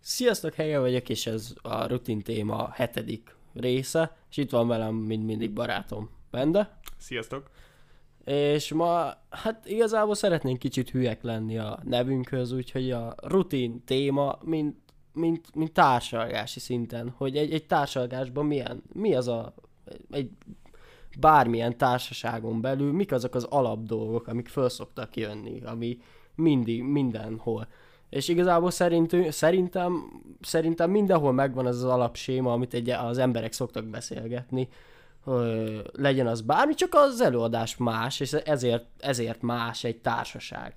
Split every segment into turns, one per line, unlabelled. Sziasztok, Hege vagyok, és ez a rutin téma hetedik része, és itt van velem, mint mindig barátom, Bende.
Sziasztok!
És ma, hát igazából szeretnénk kicsit hülyek lenni a nevünkhöz, úgyhogy a rutin téma, mint, mint, mint társalgási szinten, hogy egy, egy társalgásban milyen, mi az a, egy bármilyen társaságon belül, mik azok az alapdolgok, amik föl szoktak jönni, ami mindig, mindenhol. És igazából szerintő, szerintem, szerintem mindenhol megvan az az alapséma, amit egy, az emberek szoktak beszélgetni. Ö, legyen az bármi, csak az előadás más, és ezért, ezért más egy társaság.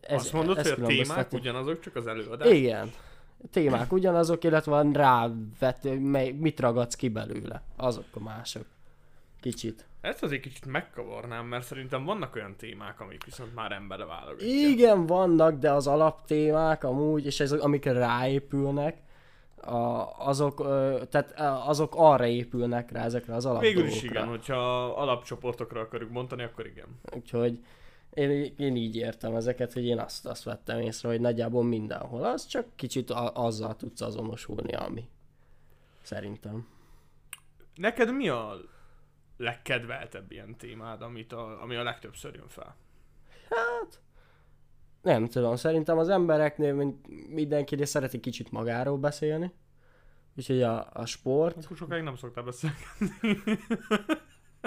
Ez, Azt mondod, ez hogy a témák ugyanazok, csak az előadás?
Igen. Témák ugyanazok, illetve van rávet, mely, mit ragadsz ki belőle. Azok a mások. Kicsit.
Ezt azért kicsit megkavarnám, mert szerintem vannak olyan témák, amik viszont már embere válogatja.
Igen, vannak, de az alaptémák amúgy, és ezek, amik ráépülnek, a, azok, ö, tehát ö, azok arra épülnek rá ezekre az alapdolgokra.
Végül is igen, hogyha alapcsoportokra akarjuk mondani, akkor igen.
Úgyhogy én, én így értem ezeket, hogy én azt, azt vettem észre, hogy nagyjából mindenhol az, csak kicsit a, azzal tudsz azonosulni, ami. Szerintem.
Neked mi a legkedveltebb ilyen témád, amit a, ami a legtöbbször jön fel?
Hát, nem tudom, szerintem az embereknél mint mindenki szereti kicsit magáról beszélni. Úgyhogy a, a sport.
Akkor sokáig nem szoktál beszélni.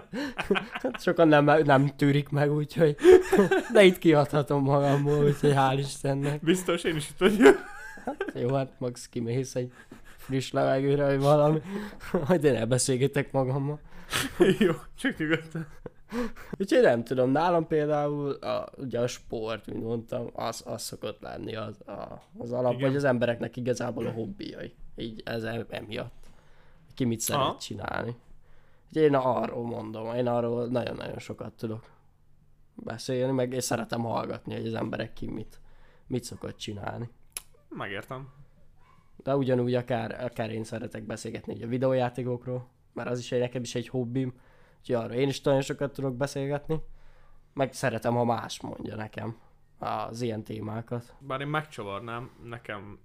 Sokan nem, nem tűrik meg, úgyhogy... De itt kiadhatom magamból, úgyhogy hál' Istennek.
Biztos, én is itt vagyok.
Hát, jó, hát max kimész egy friss levegőre, vagy valami. Majd én elbeszélgetek magammal.
Jó, csak nyugodtan.
Úgyhogy nem tudom, nálam például a, ugye a sport, mint mondtam, az, az szokott lenni az, a, az alap, Igen. vagy az embereknek igazából a hobbiai. Így ez em- emiatt. Ki mit szeret
Aha.
csinálni. Úgyhogy én arról mondom, én arról nagyon-nagyon sokat tudok beszélni, meg én szeretem hallgatni, hogy az emberek ki mit, mit szokott csinálni.
Megértem.
De ugyanúgy akár, akár én szeretek beszélgetni így a videójátékokról, mert az is egy, nekem is egy hobbim, úgyhogy arra én is nagyon sokat tudok beszélgetni, meg szeretem, ha más mondja nekem az ilyen témákat.
Bár én megcsavarnám, nekem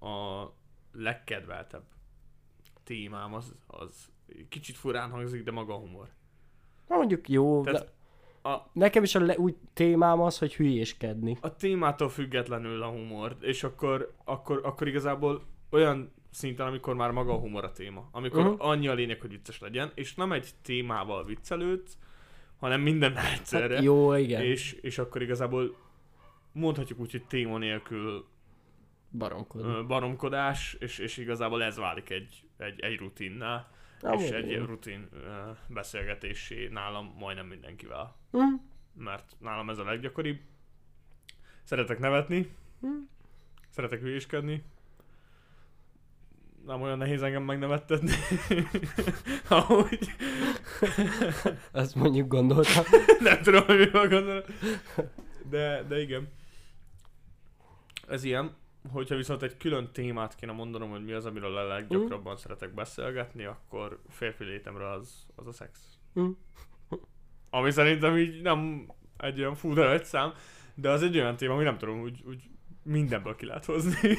a legkedveltebb témám az, az kicsit furán hangzik, de maga a humor.
Na mondjuk jó,
Tehát
de
a-
nekem is a le, úgy témám az, hogy hülyéskedni.
A témától függetlenül a humor, és akkor, akkor, akkor igazából olyan szinten, amikor már maga a humor a téma. Amikor
Mhm.
uh-huh. annyi a lényeg, hogy vicces legyen, és nem egy témával viccelődsz, hanem minden egyszerre.
Hát jó, igen, és...
és, és akkor igazából mondhatjuk úgy, hogy téma nélkül
baromkodni.
ö, baromkodás, és, és igazából ez válik egy, egy, egy rutinná,
Na,
és
jó.
egy rutin ö, beszélgetésé nálam majdnem mindenkivel,
Hm?
mert nálam ez a leggyakoribb. Szeretek nevetni, szeretek hülyéskedni, nem olyan nehéz engem megnevettetni, ahogy
Azt mondjuk gondoltam.
Nem tudom, hogy mi van gondolom. De, de igen. Ez ilyen. Hogyha viszont egy külön témát kéne mondanom, hogy mi az, amiről a leggyakrabban szeretek beszélgetni, akkor férfi létemre az, az a szex.
Hm?
Ami szerintem így nem egy olyan fú, de egy szám, de az egy olyan téma, ami nem tudom úgy, úgy mindenből ki lehet hozni.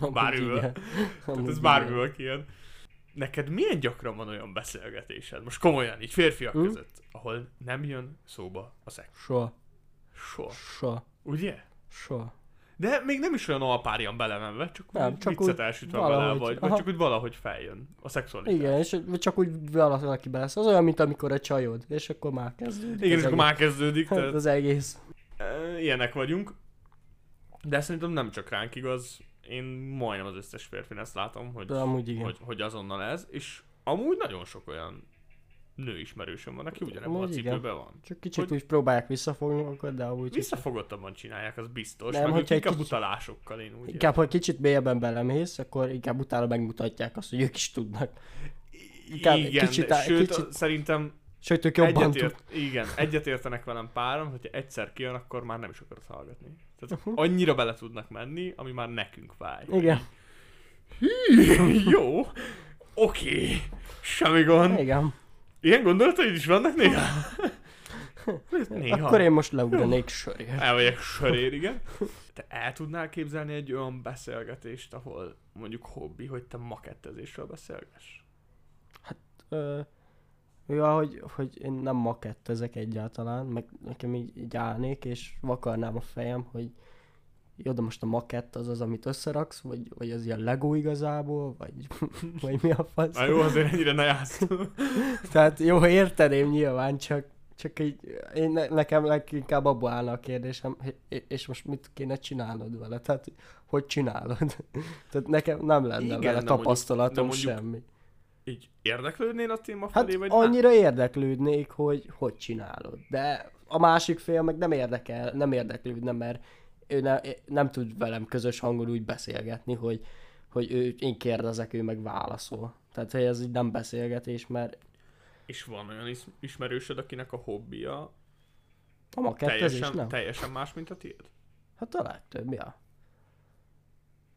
Amúgy
Bármiből.
igen.
Tehát
Amúgy
ez
igen.
bármiből kijön. Neked milyen gyakran van olyan beszélgetésed, most komolyan így férfiak
Hm?
között, ahol nem jön szóba a szex?
Soha,
Soha.
soha,
Ugye?
soha.
De még nem is olyan alpárjan belemenve, csak,
Nem,
úgy
csak
viccet
úgy
elsütve
valahogy,
bele, vagy, vagy
aha.
csak úgy valahogy feljön a szexualitás.
Igen, és csak úgy valaki belesz. Az olyan, mint amikor egy csajod, és akkor már kezdődik.
Igen,
az
és akkor már kezdődik,
egész. Hát,
tehát
Az egész.
e, ilyenek vagyunk. De szerintem nem csak ránk igaz, én majdnem az összes férfin ezt látom, hogy,
De amúgy igen.
hogy, hogy azonnal ez, és amúgy nagyon sok olyan nő ismerősöm van, aki ugyanebben a
Amúgy igen.
cipőben van.
Csak kicsit úgy próbálják visszafogni akkor, de amúgy
Visszafogottabban csinálják, az biztos,
Nem,
nem, meg ők
hogyha egy
inkább
kicsit-
utalásokkal én úgy
Inkább, ha kicsit mélyebben belemész, akkor inkább utána megmutatják azt, hogy ők is tudnak. inkább
Igen,
kicsit
de
á-
sőt,
kicsit-
szerintem
Sőt, ők jobban tud.
Egyetért, igen, egyetértenek velem páram, hogyha egyszer kijön, akkor már nem is akarod hallgatni. Tehát annyira bele tudnak menni, ami már nekünk fáj.
Igen,
Jó, oké, semmi gond.
igen.
Ilyen gondolataid is vannak néha? Néha.
Akkor én most leugranék sörért.
El vagyok sörér, igen. Te el tudnál képzelni egy olyan beszélgetést, ahol mondjuk hobbi, hogy te makettezésről beszélgess?
Ö, Ja, hogy, hogy én nem makettezek egyáltalán, meg nekem így, így állnék, és vakarnám a fejem, hogy jó, de most a makett az az, amit összeraksz, vagy, vagy az ilyen Lego igazából, vagy, vagy mi a fasz.
Na jó, azért ennyire ne játsz.
Tehát jó, érteném nyilván, csak, csak így én, ne- nekem leginkább abból állna a kérdésem, "É- és most mit kéne csinálnod vele? Tehát hogy csinálod? Tehát nekem nem lenne
Igen,
Igen,
de
vele
mondjuk-
tapasztalatom
de mondjuk
semmi.
Így érdeklődnél a téma
Hát
felé, vagy nem?
annyira érdeklődnék, hogy hogy csinálod, de a másik fél meg nem érdekel, nem érdeklődne, mert ő ne, nem tud velem közös hangon úgy beszélgetni, hogy, hogy ő, én kérdezek, ő meg válaszol. Tehát, hogy ez így nem beszélgetés, mert
És van olyan is- ismerősöd, akinek a hobbija
a makettezés
teljesen,
nem.
teljesen más, mint a tiéd?
Hát a legtöbb, ja.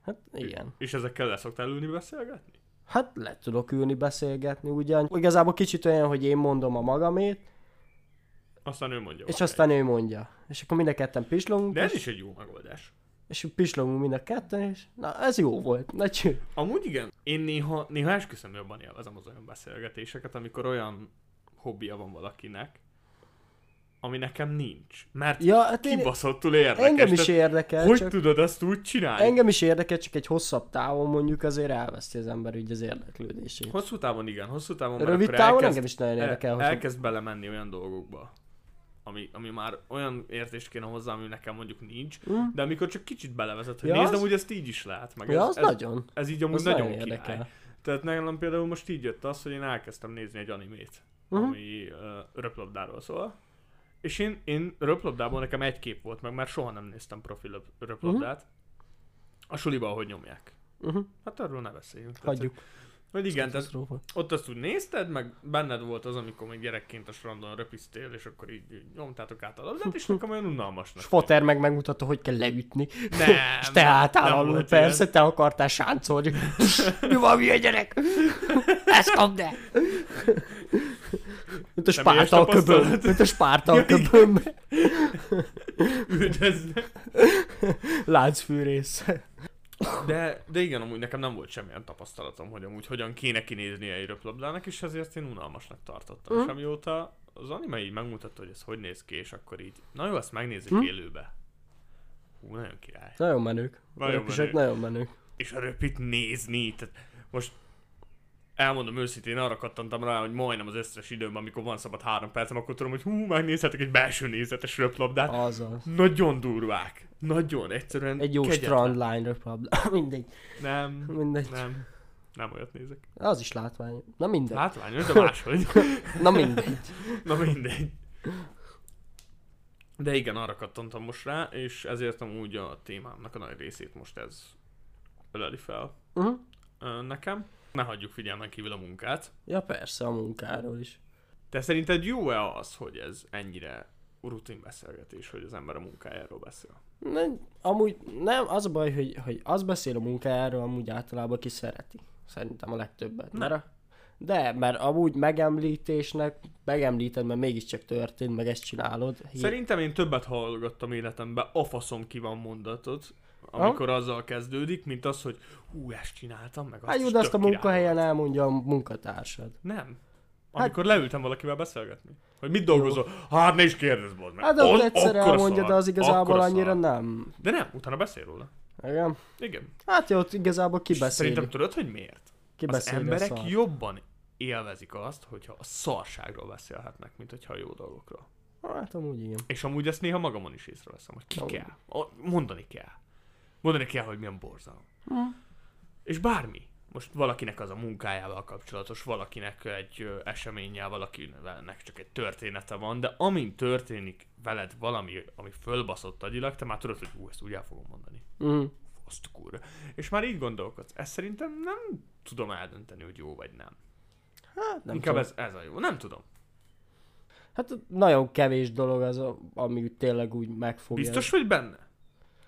Hát igen.
És ezekkel le szoktál ülni beszélgetni?
Hát le tudok ülni beszélgetni ugyan. Igazából kicsit olyan, hogy én mondom a magamét,
Aztán ő mondja.
és
oké.
aztán ő mondja. És akkor mind a ketten pislogunk,
De ez
és,
is egy jó megoldás.
és pislogunk mind a ketten, és na ez jó volt. Na cső.
Amúgy igen, én néha, néha esküszöm jobban élvezem az olyan beszélgetéseket, amikor olyan hobbija van valakinek, ami nekem nincs. Mert
Ja, hát én,
kibaszottul érdekes.
engem is
Tehát
érdekel,
Hogy
csak,
tudod azt úgy csinálni?
engem is érdekel, csak egy hosszabb távon mondjuk azért elveszti az ember így az érdeklődését.
Hosszú távon igen, hosszú távon már
Rövid
akkor
távon
elkezd-
engem is nagyon
el-
érdekel, hogy
elkezd belemenni olyan dolgokba, ami, ami már olyan értést kéne hozzá, ami nekem mondjuk nincs,
Mm.
de amikor csak kicsit belevezet, hogy
Ja,
nézd,
az-
amúgy ezt így is lehet, meg
ja,
ez,
az
ez,
nagyon.
ez így amúgy
Az
nagyon
nagyon
király.
érdekel.
Tehát nálam például most így jött az, hogy én elkezdtem nézni egy animét,
Mhm.
ami uh, röplabdáról szól. És én, én röplabdából nekem egy kép volt, meg már soha nem néztem profi löp- röplabdát.
Mhm.
A suliba, ahogy nyomják.
Uh-huh.
Hát arról ne beszéljünk. Tehát,
Hagyjuk.
Hogy igen, tehát
Katasztrófa.
ott azt úgy nézted, meg benned volt az, amikor még gyerekként a strandon röpisztél, és akkor így így nyomtátok át a labdát, és nekem olyan unalmasnak.
És Foter meg megmutatta, hogy kell leütni.
Nem,
és te álltál
nem
alul,
volt
persze,
ilyen.
te akartál sáncolni. Mi van, mi a gyerek? Ezt kapd el! Mint a
Személyes
spárta a köböm.
tapasztalat.
Mint a spárta a köböm.
Üldöznek.
Láncfűrész.
De, de igen, amúgy nekem nem volt semmilyen tapasztalatom, hogy amúgy hogyan kéne kinézni egy röplabdának, és ezért én unalmasnak tartottam. Mm. És amióta az anime így megmutatta, hogy ez hogy néz ki, és akkor így, na jó, ezt megnézzük mm. élőbe. Hú, nagyon király.
Nagyon menők.
Nagyon
Nagyon menők.
menők.
nagyon menők.
és a röpit nézni. Tehát most elmondom őszintén, arra kattantam rá, hogy majdnem az összes időmben, amikor van szabad három percem, akkor tudom, hogy hú, megnézhetek egy belső nézetes röplabdát.
Azaz.
Nagyon durvák. Nagyon, egyszerűen
Ah. Egy jó
kegyetlen.
strandline problém. Mindegy.
Nem,
Mindegy.
nem. Nem olyat nézek.
Az is látvány. Na mindegy.
Látványos, de máshogy.
Na mindegy.
Na mindegy. De igen, arra kattantam most rá, és ezért amúgy a témámnak a nagy részét most ez öleli fel
Uh-huh.
ö, nekem. Ne hagyjuk figyelmen kívül a munkát.
Ja persze, a munkáról is.
Te szerinted jó-e az, hogy ez ennyire rutin beszélgetés, hogy az ember a munkájáról beszél?
Nem, amúgy nem, az a baj, hogy, hogy az beszél a munkájáról, amúgy általában ki szereti. Szerintem a legtöbbet. Mert, a- de, mert amúgy megemlítésnek, megemlíted, mert mégiscsak történt, meg ezt csinálod. Hi-
Szerintem én többet hallgattam életemben, a faszom ki van mondatot, amikor azzal kezdődik, mint az, hogy hú, ezt csináltam, meg azt
Hát jó,
is
de azt a
tök király
munkahelyen Hát- elmondja a munkatársad.
volt. Nem. Amikor leültem valakivel beszélgetni. Hogy mit dolgozol? Hát ne is kérdezz, bazd meg.
Hát
Az szóval-
ott egyszer
akkora
elmondja,
szar,
de az igazából
akkora
annyira
szar.
nem.
De nem, utána beszél róla.
Igen?
Igen.
Hát jó, ott igazából
És Szerintem
kibeszéli.
tudod, hogy miért? Az
Kibeszéli a
emberek
szart.
jobban élvezik azt, hogyha a szarságról beszélhetnek, mint hogyha a jó dolgokról.
Hát amúgy igen.
És amúgy ezt néha magamon is észreveszem, hogy ki
Amúgy.
kell. A- Mondani kell. Mondani kell, hogy milyen borzalom.
Hm.
És bármi. Most valakinek az a munkájával kapcsolatos, valakinek egy ö, eseménnyel, valakinek csak egy története van, de amint történik veled valami, ami fölbaszott agyilag, te már tudod, hogy ú, ezt úgy el fogom mondani.
Mm.
Azt kurva. És már így gondolkodsz. Ezt szerintem nem tudom eldönteni, hogy jó vagy nem.
Hát nem
Inkább
tudom.
ez, ez a jó. Nem tudom.
Hát nagyon kevés dolog az, a- ami tényleg úgy megfogja.
Biztos vagy benne?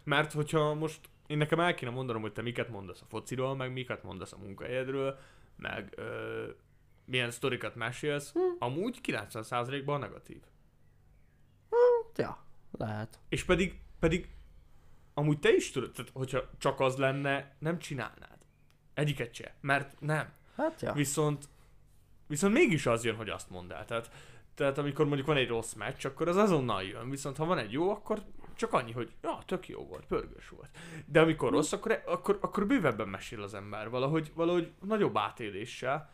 Mert hogyha most én nekem el kéne mondanom, hogy te miket mondasz a fociról, meg miket mondasz a munkahelyedről, meg
Hm.
ö, milyen sztorikat mesélsz, amúgy 90%-ban negatív.
Ja, lehet.
És pedig, pedig amúgy te is tudod, tehát hogyha csak az lenne, nem csinálnád. Egyiket se, mert nem.
Hát ja.
Viszont, viszont mégis az jön, hogy azt mondd el. Tehát, tehát amikor mondjuk van egy rossz meccs, akkor az azonnal jön, viszont ha van egy jó, akkor csak annyi, hogy ja, tök jó volt, pörgős volt. De amikor rossz, akkor, akkor, akkor bővebben mesél az ember, valahogy, valahogy nagyobb átéléssel.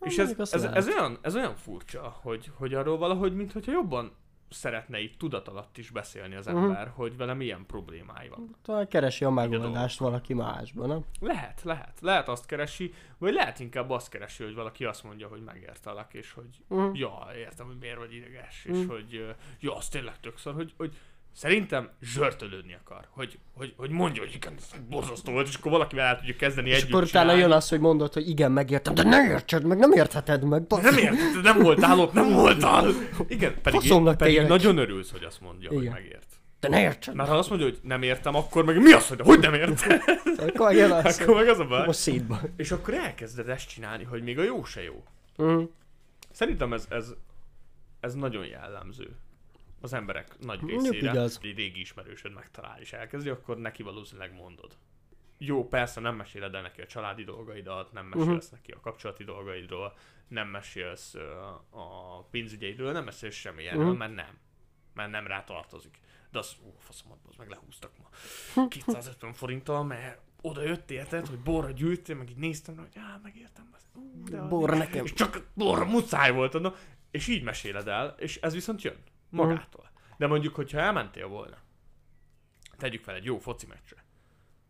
Na,
És
Hát
ez,
mondjuk Hát, azt
ez,
lehet.
ez, olyan, ez olyan furcsa, hogy, hogy arról valahogy, mintha jobban szeretne így tudat alatt is beszélni az
Mhm.
ember, hogy velem ilyen problémái van.
Talán keresi a
a
megoldást valaki másban, nem?
Lehet, lehet. Lehet azt keresi, vagy lehet inkább azt keresi, hogy valaki azt mondja, hogy megértelek, és hogy
Mhm.
ja, értem, hogy miért vagy ideges, és
Mhm.
hogy ö, ja, az tényleg tök szar, hogy, hogy szerintem zsörtölődni akar, hogy, hogy, hogy mondja, hogy igen, ez borzasztó volt, és akkor valakivel el tudja kezdeni
És
együtt
akkor utána
csinálni.
jön az, hogy mondod, hogy igen, megértem, de ne értsed meg, nem értheted meg. basz.
Nem érted, nem voltál ott, nem voltál. Igen, pedig,
Faszomnak
pedig
tényleg.
nagyon örülsz, hogy azt mondja, hogy
Igen.
megért.
De ne értsed meg.
Mert ha azt mondja, hogy nem értem, akkor meg mi az, hogy, hogy nem érted?
Akkor jön az,
akkor meg az a baj.
most szétba.
És akkor elkezded ezt csinálni, hogy még a jó se jó.
Mm.
Szerintem ez, ez, ez nagyon jellemző. Az emberek nagy
Mondjuk
részére,
igaz.
egy régi ismerősöd megtalál és elkezdi, akkor neki valószínűleg mondod. Jó, persze nem meséled el neki a családi dolgaidat, nem mesélsz uh-huh. neki a kapcsolati dolgaidról, nem mesélsz ö, a pénzügyeidről, nem mesélsz semmi erről, uh-huh. mert nem. Mert nem rá tartozik. De az, ó, faszom, az meg lehúztak ma. 250 forinttal, mert oda jött, érted, hogy borra gyűjtél, meg így néztem, hogy á, megértem. bazd. Ú, de az-
Bor nekem.
és csak borra muszáj volt adnom. És így meséled el, és ez viszont jön. Magától. De mondjuk, hogyha elmentél volna, tegyük fel egy jó foci meccsre.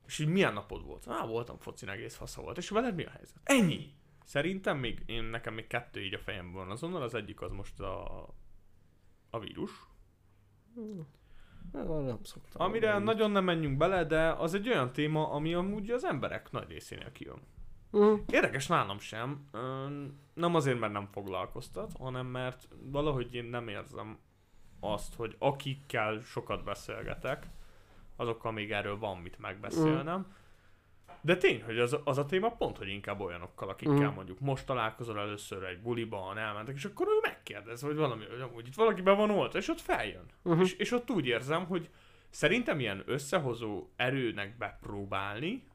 És így milyen napod volt? Á, voltam focin egész fasza volt. És veled mi a helyzet? Ennyi! Szerintem még, én, nekem még kettő így a fejemben van azonnal. Az egyik az most a, a vírus,
Na, Hát, Nem szoktam.
amire nagyon nem menjünk bele, de az egy olyan téma, ami amúgy az emberek nagy részénél kijön.
Mm.
Érdekes nálam sem. Ön, nem azért, mert nem foglalkoztat, hanem mert valahogy én nem érzem azt, hogy akikkel sokat beszélgetek, azokkal még erről van mit megbeszélnem. De tény, hogy az, az a téma pont, hogy inkább olyanokkal, akikkel
Mm.
mondjuk most találkozol először egy buliban, elmentek, és akkor ő megkérdez, hogy valami, hogy amúgy itt valaki be van oltva, és ott feljön.
Mhm.
És, és ott úgy érzem, hogy szerintem ilyen összehozó erőnek bepróbálni,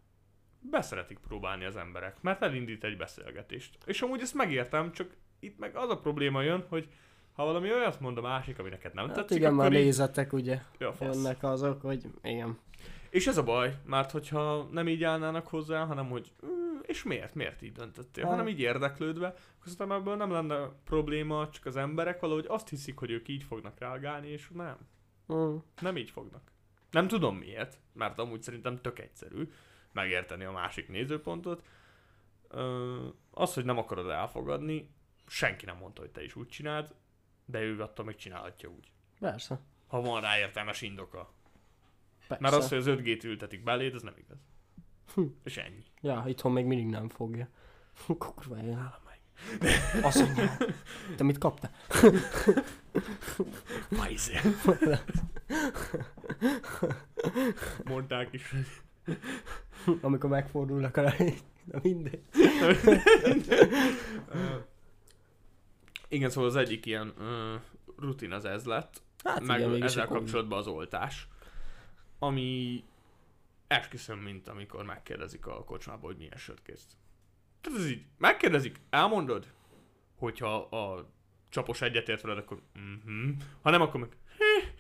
beszeretik próbálni az emberek, mert elindít egy beszélgetést. És amúgy ezt megértem, csak itt meg az a probléma jön, hogy ha valami olyat mond a másik, ami neked nem
Hát
tetszik,
igen, már
akkor így,
nézetek ugye,
ja, fasz.
jönnek azok, hogy igen.
És ez a baj, mert hogyha nem így állnának hozzá, hanem hogy "Ú, és miért, miért így döntöttél,
Hát.
hanem így érdeklődve, akkor szerintem ebből nem lenne probléma, csak az emberek valahogy azt hiszik, hogy ők így fognak reagálni, és nem,
Mm.
nem így fognak. Nem tudom miért, mert amúgy szerintem tök egyszerű megérteni a másik nézőpontot. Ö, az, hogy nem akarod elfogadni, senki nem mondta, hogy te is úgy csináld, de ő attól még csinálhatja úgy.
Persze.
Ha van rá értelmes indoka.
Persze.
Mert az, hogy az 5G-t ültetik beléd, ez nem igaz.
Hm.
És ennyi.
Ja, itthon még mindig nem fogja. Kurva én. Azt mondja, te mit kaptál?
Pajzé. Mondták is.
Amikor megfordulnak a Na mindegy.
Ö, Igen, szóval az egyik ilyen ö, rutin az ez lett.
Hát
Hát meg
igen,
igen,
mégis
ezzel
akkor-
kapcsolatban az oltás, ami esküszöm, mint amikor megkérdezik a kocsmába, hogy milyen sört kész. Tehát ez így, megkérdezik, elmondod, hogyha a csapos egyetért veled, akkor mhm, ha nem, akkor meg "Hé."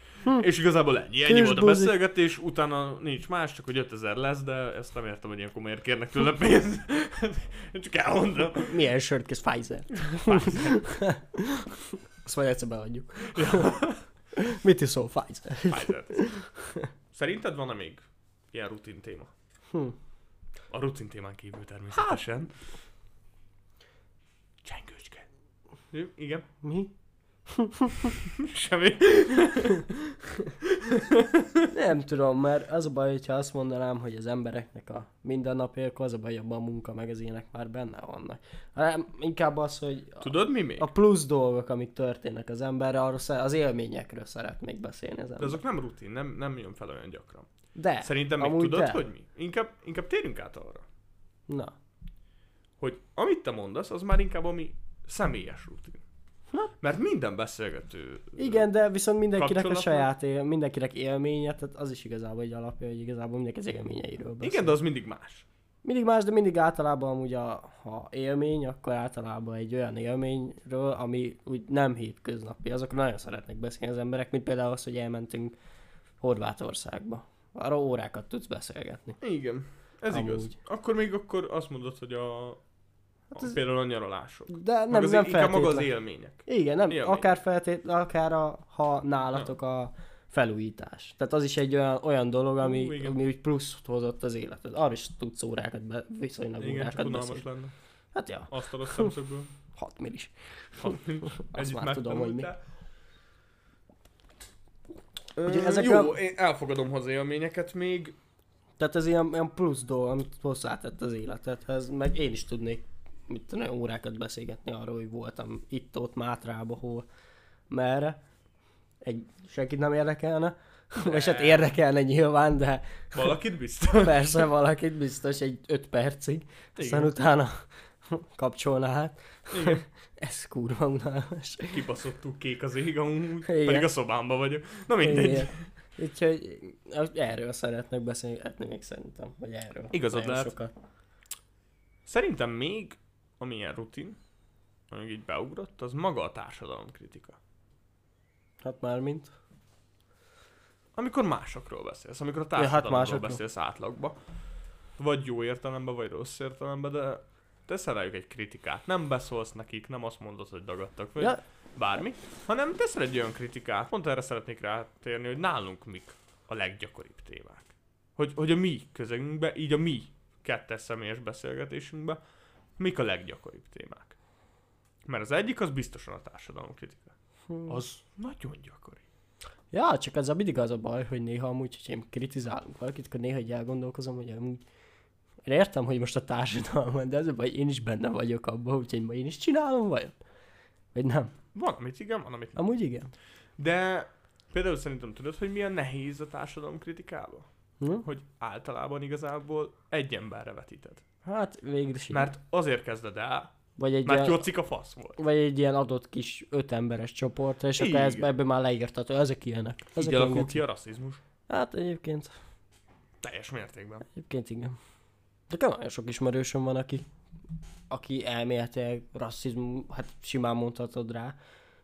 és igazából ennyi, ennyi
Hm. Kis
volt a
buzi.
beszélgetés, utána nincs más, csak hogy 5000 lesz, de ezt nem értem, hogy ilyenkor miért kérnek tőle pénzt. csak elmondom.
Milyen sört kész? Pfizer. Azt majd egyszer beadjuk. Mit iszol? Pfizer.
Pfizer. Szerinted van-e még ilyen rutin téma?
Hm. Hát!
A rutin témán kívül természetesen. Csengőcske.
Hm,
Jó, Igen,
Mi?
semmi.
Nem tudom, mert az a baj, hogyha azt mondanám, hogy az embereknek a mindennapja, akkor az a baj, hogy abban a munka meg az ilyenek már benne vannak. Hanem inkább az, hogy a,
Tudod mi még?
a plusz dolgok, amik történnek az emberre, arról sze- az élményekről szeretnék beszélni az
De
ember.
azok nem rutin, nem, nem jön fel olyan gyakran.
De,
Szerintem még
amúgy
tudod,
de.
hogy mi? Inkább, inkább térjünk át arra,
na,
hogy amit te mondasz, az már inkább ami személyes rutin. Mert minden beszélgető...
Igen, de viszont mindenkinek a
Kapcsolatnak?
saját, él, mindenkinek élménye, tehát az is igazából egy alapja, hogy igazából mindenki az élményeiről beszél.
Igen, de az mindig más.
Mindig más, de mindig általában amúgy a, ha élmény, akkor általában egy olyan élményről, ami úgy nem hétköznapi. Azokról nagyon szeretnek beszélni az emberek, mint például az, hogy elmentünk Horvátországba. Arra órákat tudsz beszélgetni.
Igen. Ez Amúgy. igaz.
Amúgy.
Akkor még akkor azt mondod, hogy a... Hát
ez-
ez... Például a nyaralások.
De
Meg
nem,
az,
nem
inkább maga az
feltétlen.
élmények.
Igen, nem,
Élmény.
akár feltét, akár a, ha nálatok a felújítás. Tehát az is egy olyan, olyan dolog,
Hú,
ami,
igen.
ami úgy pluszt hozott az életed. Arra is tudsz órákat, be, viszonylag
Igen, csak
órákat
unalmas
beszélni.
lenne.
Hát ja,
Azt a szemszögből.
6 millis.
Ha nincs. Együtt
már tudom, hogy mi.
megtanultál.
Ugye
Ö,
ezek
Jó,
a-
én elfogadom hozzá élményeket még.
Tehát ez ilyen, ilyen plusz dolog, amit hozzátett az életedhez, meg én is tudnék mit tudom, én, órákat beszélgetni arról, hogy voltam itt-ott, Mátrába, hol, merre. Egy, senkit nem érdekelne. Vagy hát érdekelne nyilván, de
Valakit biztos.
Persze, valakit biztos egy 5 percig, aztán
Igen.
utána kapcsolná hát.
Igen.
Ez kurva unalmas.
Kibaszottul kék az ég amúgy,
Igen.
pedig a szobámba vagyok. Na mindegy.
Igen. Úgyhogy erről szeretnek beszélgetni még szerintem, vagy erről.
Igazad
Nagyon
lehet.
Sokat.
Szerintem még, ami ilyen rutin, amíg így beugrott, az maga a társadalomkritika.
Hát már mint.
Amikor másokról beszélsz, amikor a
hát
társadalomról ja, hát
másokról.
beszélsz átlagba. Vagy jó értelemben, vagy rossz értelemben, de teszel rájuk egy kritikát. Nem beszólsz nekik, nem azt mondod, hogy dagadtak, vagy ja.
Ja,
bármi, hanem teszel egy olyan kritikát. Pont erre szeretnék rátérni, hogy nálunk mik a leggyakoribb témák. Hogy, hogy a mi közegünkbe, így a mi kettes személyes beszélgetésünkbe, mik a leggyakoribb témák. Mert az egyik az biztosan a társadalomkritika. Az nagyon gyakori.
ja, csak ez a mindig az a baj, hogy néha amúgy, hogyha én kritizálunk valakit, akkor néha így elgondolkozom, hogy amúgy én értem, hogy most a társadalom, de ez a baj, én is benne vagyok abban, úgyhogy ma én is csinálom vajon? Vagy nem?
Van, amit igen, van, amit nem.
Amúgy igen.
De például szerintem tudod, hogy milyen nehéz a társadalom kritikába?
Hm?
Hogy általában igazából egy emberre vetíted.
Hát végül is igen.
Mert azért kezded el,
Vagy egy,
mert
ilyen,
Jocik a fasz volt.
vagy egy ilyen adott kis öt emberes csoportra, és akkor
Igen.
ez, ebben már leírtad, hogy ezek ilyenek. Ezek
Így
ilyen
alakul
geci.
ki a rasszizmus.
Hát egyébként,
Teljes mértékben. Hát
egyébként igen. De nagyon sok ismerősöm van, aki, aki elméletileg rasszizmus, hát simán mondhatod rá,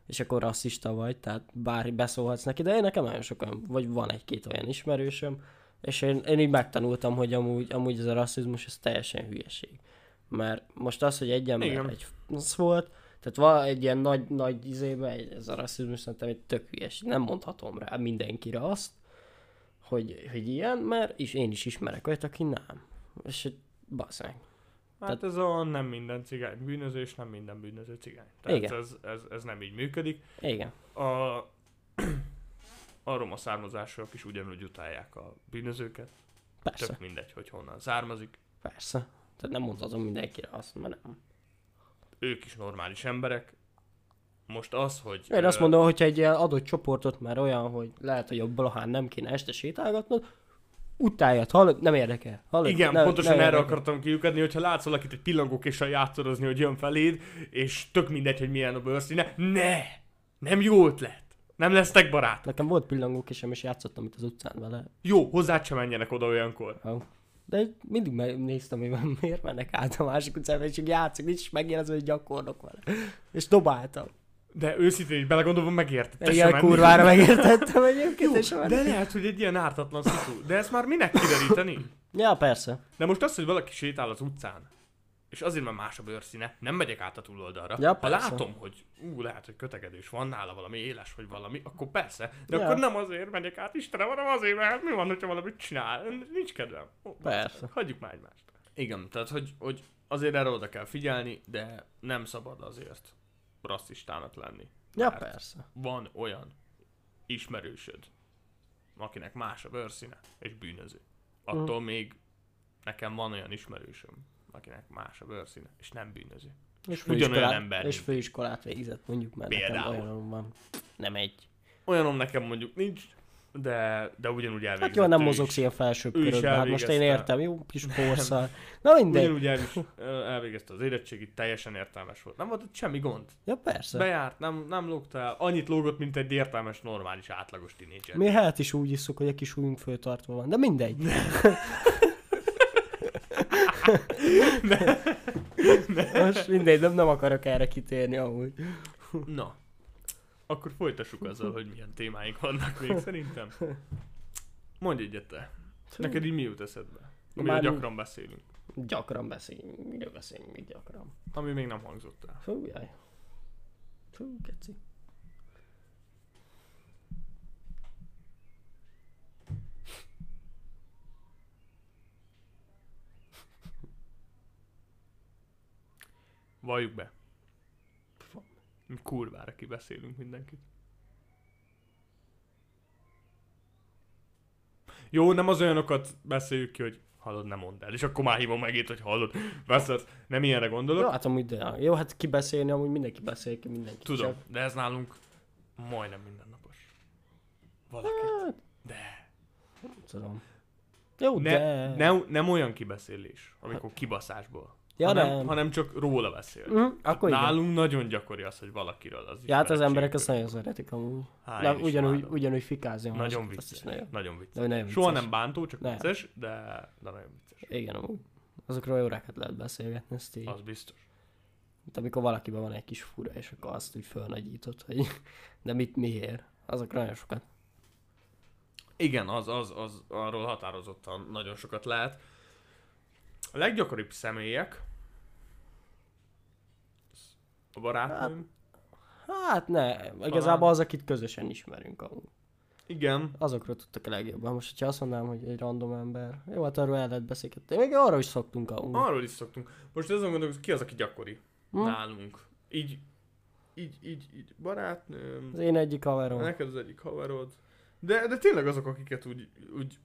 és akkor rasszista vagy, tehát bár beszólhatsz neki, de én nekem nagyon sokan, vagy van egy-két olyan ismerősöm, és én, én így megtanultam, hogy amúgy, amúgy ez a rasszizmus, ez teljesen hülyeség. Mert most az, hogy egy ember
Igen.
egy fasz volt, tehát van egy ilyen nagy, nagy izébe, egy- ez a rasszizmus szerintem egy tök hülyeség. Nem mondhatom rá mindenkire azt, hogy, hogy ilyen, mert is, én is ismerek olyat, aki nem. És hogy baszánk.
Hát ez a nem minden cigány bűnöző, és nem minden bűnöző cigány. Tehát
Igen.
ez, ez, ez nem így működik.
Igen.
A, a roma származásúak is ugyanúgy utálják a bűnözőket.
Persze,
Tök mindegy, hogy honnan származik.
persze. Tehát nem mondhatom mindenkire azt, mert nem.
Ők is normális emberek. Most az, hogy...
Én azt
ö,
mondom, hogyha egy ilyen adott csoportot már olyan, hogy lehet, hogy a blahán nem kéne este sétálgatnod, utáljad, hallod, nem érdekel. Hallod,
Igen,
nem,
pontosan
nem
erre
érdekel.
akartam kiukadni, hogyha látsz valakit egy pillangókéssel játszorozni, hogy jön feléd, és tök mindegy, hogy milyen a bőrszíne, ne! Nem jó ötlet! Nem lesztek barátok.
Nekem volt pillangók is, és játszottam itt az utcán vele.
Jó, hozzá sem menjenek oda olyankor.
Ó. De mindig megnéztem, hogy van- miért mennek át a másik utcába, és csak játszik, nincs megjelezve, hogy gyakorlok vele. És dobáltam.
De őszintén, így belegondolva megérted. te se
Igen,
mennél.
kurvára megértettem egyébként, és
Jó,
már...
de lehet, hogy egy ilyen ártatlan szitu. De ezt már minek kideríteni?
Ja, persze.
De most az, hogy valaki sétál az utcán, és azért, mert más a bőrszíne, nem megyek át a túloldalra.
Ja,
ha
persze.
látom, hogy ú, lehet, hogy kötegedős van nála valami éles, vagy valami, akkor persze. De
Ja.
akkor nem azért megyek át, Istenem, hanem azért, mert hát mi van, hogyha valamit csinál. Nincs kedvem. Ó,
Persze.
Hagyjuk már egymást. Igen, tehát hogy, hogy azért erre oda kell figyelni, de nem szabad azért rasszistának lenni.
Ja,
Mert-
persze.
Van olyan ismerősöd, akinek más a bőrszíne, és bűnöző.
Hm.
Attól még nekem van olyan ismerősöm, akinek más a bőrszíne, és nem bűnöző.
És
ugyanolyan
főiskolát-
ember,
És
mint-
főiskolát végzett, mondjuk, mert nekem
Például.
olyanom van. Nem egy.
Olyanom nekem mondjuk nincs, de, de ugyanúgy elvégzett.
Hát jó, nem
ő
mozogsz
is.
ilyen felső
ő is
körökben. Hát most én
elvégezte.
értem, jó kis porszal. Na mindegy.
Ugyanúgy el, elvégezte az érettségit, teljesen értelmes volt. Nem volt ott semmi gond.
Ja persze.
Bejárt, nem, nem lógta el. Annyit lógott, mint egy értelmes, normális, átlagos tinédzser.
Mi hát is úgy iszunk, hogy a kis ujjunk föltartva van, de mindegy. Most mindegy, nem, nem akarok erre kitérni amúgy.
Na, akkor folytassuk azzal, hogy milyen témáink vannak még szerintem. Mondj egyet te. Neked így mi jut eszedbe? Amiről
Már mi?
gyakran beszélünk.
Gyakran beszéljünk, miről beszéljünk még gyakran.
Ami még nem hangzott el.
Fú, jaj. Fú, keci.
Valljuk be. Mi Kurvára kibeszélünk mindenkit. Jó, nem az olyanokat beszéljük ki, hogy hallod, nem mondd el. És akkor már hívom megint, hogy hallod. Veszed, nem ilyenre gondolok.
Jó, hát amúgy, de, jó, hát kibeszélni, amúgy mindenki beszél ki mindenki.
Tudom,
Csak,
de ez nálunk majdnem mindennapos. Valaki.
tudom. Jó,
Ne,
de... Hát-
ne, nem olyan kibeszélés, amikor kibaszásból.
Ja,
hanem,
nem.
hanem csak róla beszél.
Mhm, akkor igen.
Nálunk nagyon gyakori az, hogy valakiről az
Ja, hát az
ismeretségről.
emberek azt nagyon szeretik amúgy.
Há,
Na,
én is
ugyanúgy,
imádom.
ugyanúgy fikázni. a
Nagyon
másikat, azt
vicces.
is nagyon-
Nagyon
De
vicces.
hogy nagyon vicces.
Soha nem bántó, csak
Nem.
vicces, de, de nagyon vicces.
Igen, amúgy. Azokról órákat lehet beszélgetni, ezt így.
Az biztos.
Mint amikor valakiben van egy kis fura, és akkor azt úgy fölnagyítod, hogy de mit miért. Azok nagyon sokat.
Igen, az, az, az, arról határozottan nagyon sokat lehet. A leggyakoribb személyek a barátnőm.
Hát ne, igazából az, akit közösen ismerünk amúgy.
Igen,
Azokról tudtak a legjobban. Most, hogyha azt mondanám, hogy egy random ember, jó, hát arról el lehet beszélgetni. Még arra is szoktunk amúgy.
arról is szoktunk. Most azon gondolkozom, ki az, aki gyakori
Hm.
nálunk. Így, így, így, így barátnőm,
Az én egyik haverom.
Neked az egyik haverod. De, de tényleg azok, akiket úgy, úgy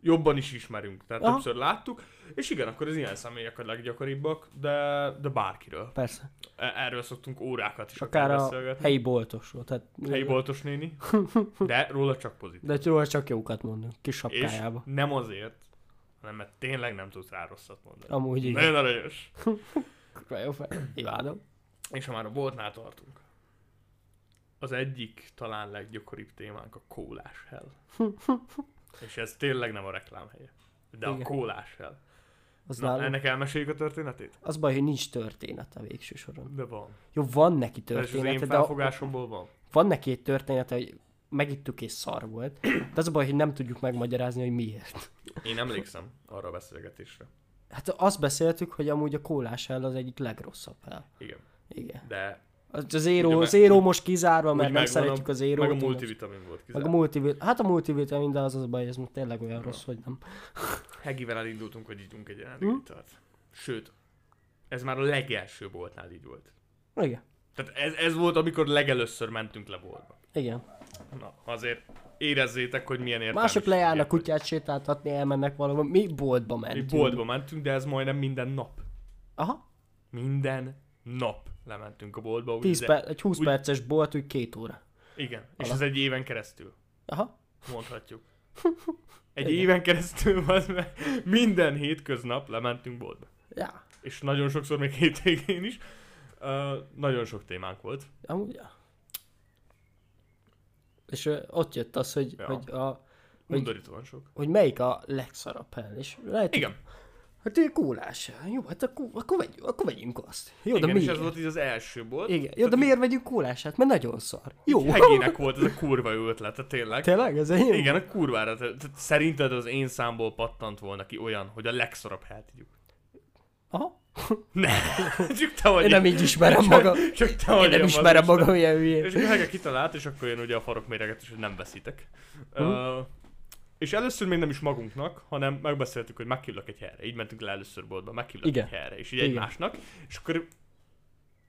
jobban is ismerünk. Tehát
Aha.
Aha. többször láttuk. És igen, akkor az ilyen személyek a leggyakoribbak, de, de bárkiről.
Persze.
E- Erről szoktunk órákat is
És akár a
beszélgetni.
helyi hát boltosról. Tehát,
Helyi boltos néni. De róla csak pozitív.
De róla csak jókat mondunk, kis
És
sapkájába.
nem azért, hanem mert tényleg nem tudsz rá rosszat mondani.
Amúgy igen.
Nagyon aranyos.
Kurva jó fej. Imádom.
És ha már a boltnál tartunk. Az egyik talán leggyakoribb témánk a kólás hell. És ez tényleg nem a reklám helye. De a
Igen.
kólás hell.
Az,
Na,
nálunk,
ennek elmeséljük a történetét?
az baj, hogy nincs története végső soron.
De van.
Jó, van neki
Ez az én
története, de a-
felfogásomból van.
van neki egy története, hogy megittuk és szar volt, de az a baj, hogy nem tudjuk megmagyarázni, hogy miért.
Én emlékszem arra a beszélgetésre.
Hát azt beszéltük, hogy amúgy a kólás hell az egyik legrosszabb hell.
Igen.
Igen.
De
Az, az Zero,
Ugye
me-
meg-
Zero most kizárva, mert
úgy
nem
megvan
szeretjük az Zero.
meg a multivitamin volt
Meg a
kizárt.
multivit. Hát a multivitamin, de az az a baj, ez most tényleg olyan rossz, hogy nem.
Hegivel elindultunk, hogy ígyunk egy
Hm?
energiát. Sőt, ez már a legelső boltnál így volt.
Igen.
Tehát ez, ez volt, amikor legelőször mentünk le boltba.
Igen.
Na, azért érezzétek, hogy milyen értelmes.
Mások lejárnak
hogy
kutyát sétáltatni, elmennek valahol. Mi boltba
Mi
mentünk.
boltba mentünk, de ez majdnem minden nap.
Aha.
Minden nap lementünk a boltba. úgy
10
de-
per, egy 20
úgy-
perces bolt, úgy két óra.
Igen, és
Ala.
ez egy éven keresztül,
Aha.
mondhatjuk. Egy éven keresztül az meg minden hétköznap lementünk boltba.
Ja.
És nagyon sokszor, még hétvégén is. Uh, nagyon sok témánk volt.
Amúgy, ja. És ö, ott jött az, hogy,
Ja.
hogy a Hogy-
Undorítóan sok.
hogy melyik a legszarabb hell, és lehet,
Igen,
hát egy kólás. Jó, hát akkor, akkor, vegyünk, akkor vegyünk azt. Jó,
igen
de
és
miért?
ez volt így az első bolt.
Igen. Jó, de miért vegyünk kólását? Mert nagyon szar. Jó.
Hegének volt ez a kurva jó ötlete, tényleg.
Tényleg? Ez egy
Igen, a kurvára. Te, te, szerinted az én számból pattant volna ki olyan, hogy a legszorabb hát így.
Aha.
Ne, csak te vagy.
Én nem így ismerem magam.
Csak, csak te vagy.
Én nem
ilyen
ismerem
mazista.
magam ilyen
És
hülyén.
akkor Hege kitalált, és akkor én ugye a farok méreget is, hogy nem veszitek.
Hm.
Uh, és először még nem is magunknak, hanem megbeszéltük, hogy megküllök egy helyre. Így mentünk le először boltba, megküllök
Igen.
egy helyre. És így
Igen.
egymásnak. És akkor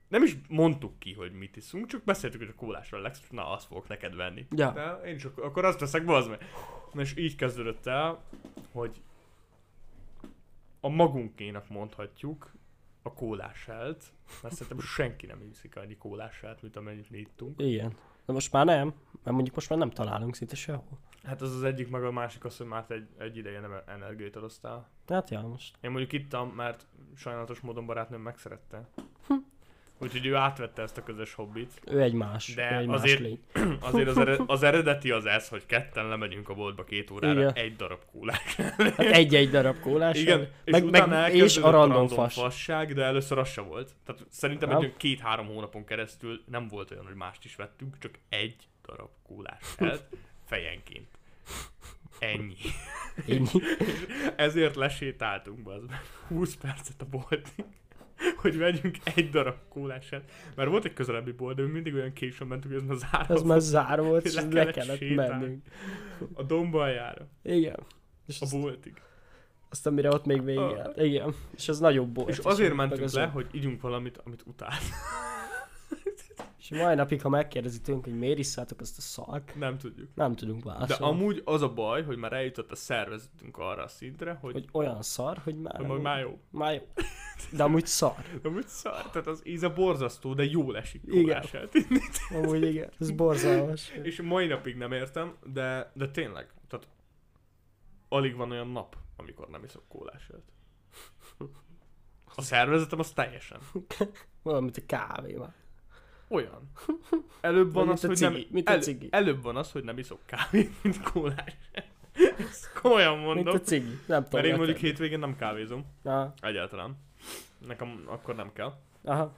nem is mondtuk ki, hogy mit iszunk, csak beszéltük, hogy a kólásra Lex, na azt fogok neked venni.
Ja.
De én is akkor, akkor azt teszek, bazd meg. Na és így kezdődött el, hogy a magunkénak mondhatjuk a kólásált, mert szerintem senki nem iszik annyi kólásált, mint amennyit mi ittunk.
Igen. De most már nem, mert mondjuk most már nem találunk szinte sehol.
Hát az az egyik, meg a másik az, hogy már te egy, egy ideje nem energiát adoztál.
Hát ja, most.
Én mondjuk ittam, mert sajnálatos módon barátnőm megszerette. Úgyhogy ő átvette ezt a közös hobbit.
Ő egy más.
De
ő egy
azért-
más lény.
Azért az, ered, az eredeti az ez, hogy ketten lemegyünk a boltba két órára
Igen.
egy darab kólát.
Hát egy-egy darab kólás.
Igen, és
meg, meg,
utána
és
elkezdődött
a random fas.
fasság, de először az se volt. Tehát szerintem
Nem.
egy olyan két-három hónapon keresztül nem volt olyan, hogy mást is vettünk, csak egy darab kóláselt fejenként. Ennyi.
Ennyi.
Ezért lesétáltunk be 20 percet a boltig, hogy vegyünk egy darab kólását. Mert volt egy közelebbi bolt, de mi mindig olyan későn mentünk, hogy ez már zárva
Ez már zár volt,
Le
és le
kellett
kellett
sétálni.
mennünk.
volt. a dombaljára,
Igen. És
a
azt,
boltig.
azt, amire ott még vége.
Ah.
járt. Igen. És az nagyobb volt.
És azért
meg
mentünk
az
le,
ott.
hogy ígyunk valamit, amit utált.
És mai napig, ha megkérdezi tőlünk, hogy miért isszátok azt a szart,
Nem tudjuk.
nem tudunk
De
válaszolni.
amúgy az a baj, hogy már eljutott a szervezetünk arra a szintre, hogy,
Hogy olyan szar, hogy már...
hogy majd már jó.
Már jó. De amúgy szar.
Amúgy szar, tehát az íze borzasztó, de jól esik
Igen.
kólását.
Amúgy igen. Ez borzalmas.
És mai napig nem értem, de, de tényleg, tehát alig van olyan nap, amikor nem iszok kólását. A szervezetem az teljesen
Valamint a kávé már.
olyan. Előbb van
Vagy
az,
mint a
hogy nem,
cigi, mint a cigi.
előbb van az, hogy nem iszok kávét, mint kólás. Ezt komolyan
Mint
mondom.
a cigi. Nem tudom.
Mert én mondjuk
letenni.
hétvégén nem kávézom.
Na,
Egyáltalán. Nekem akkor nem kell.
aha.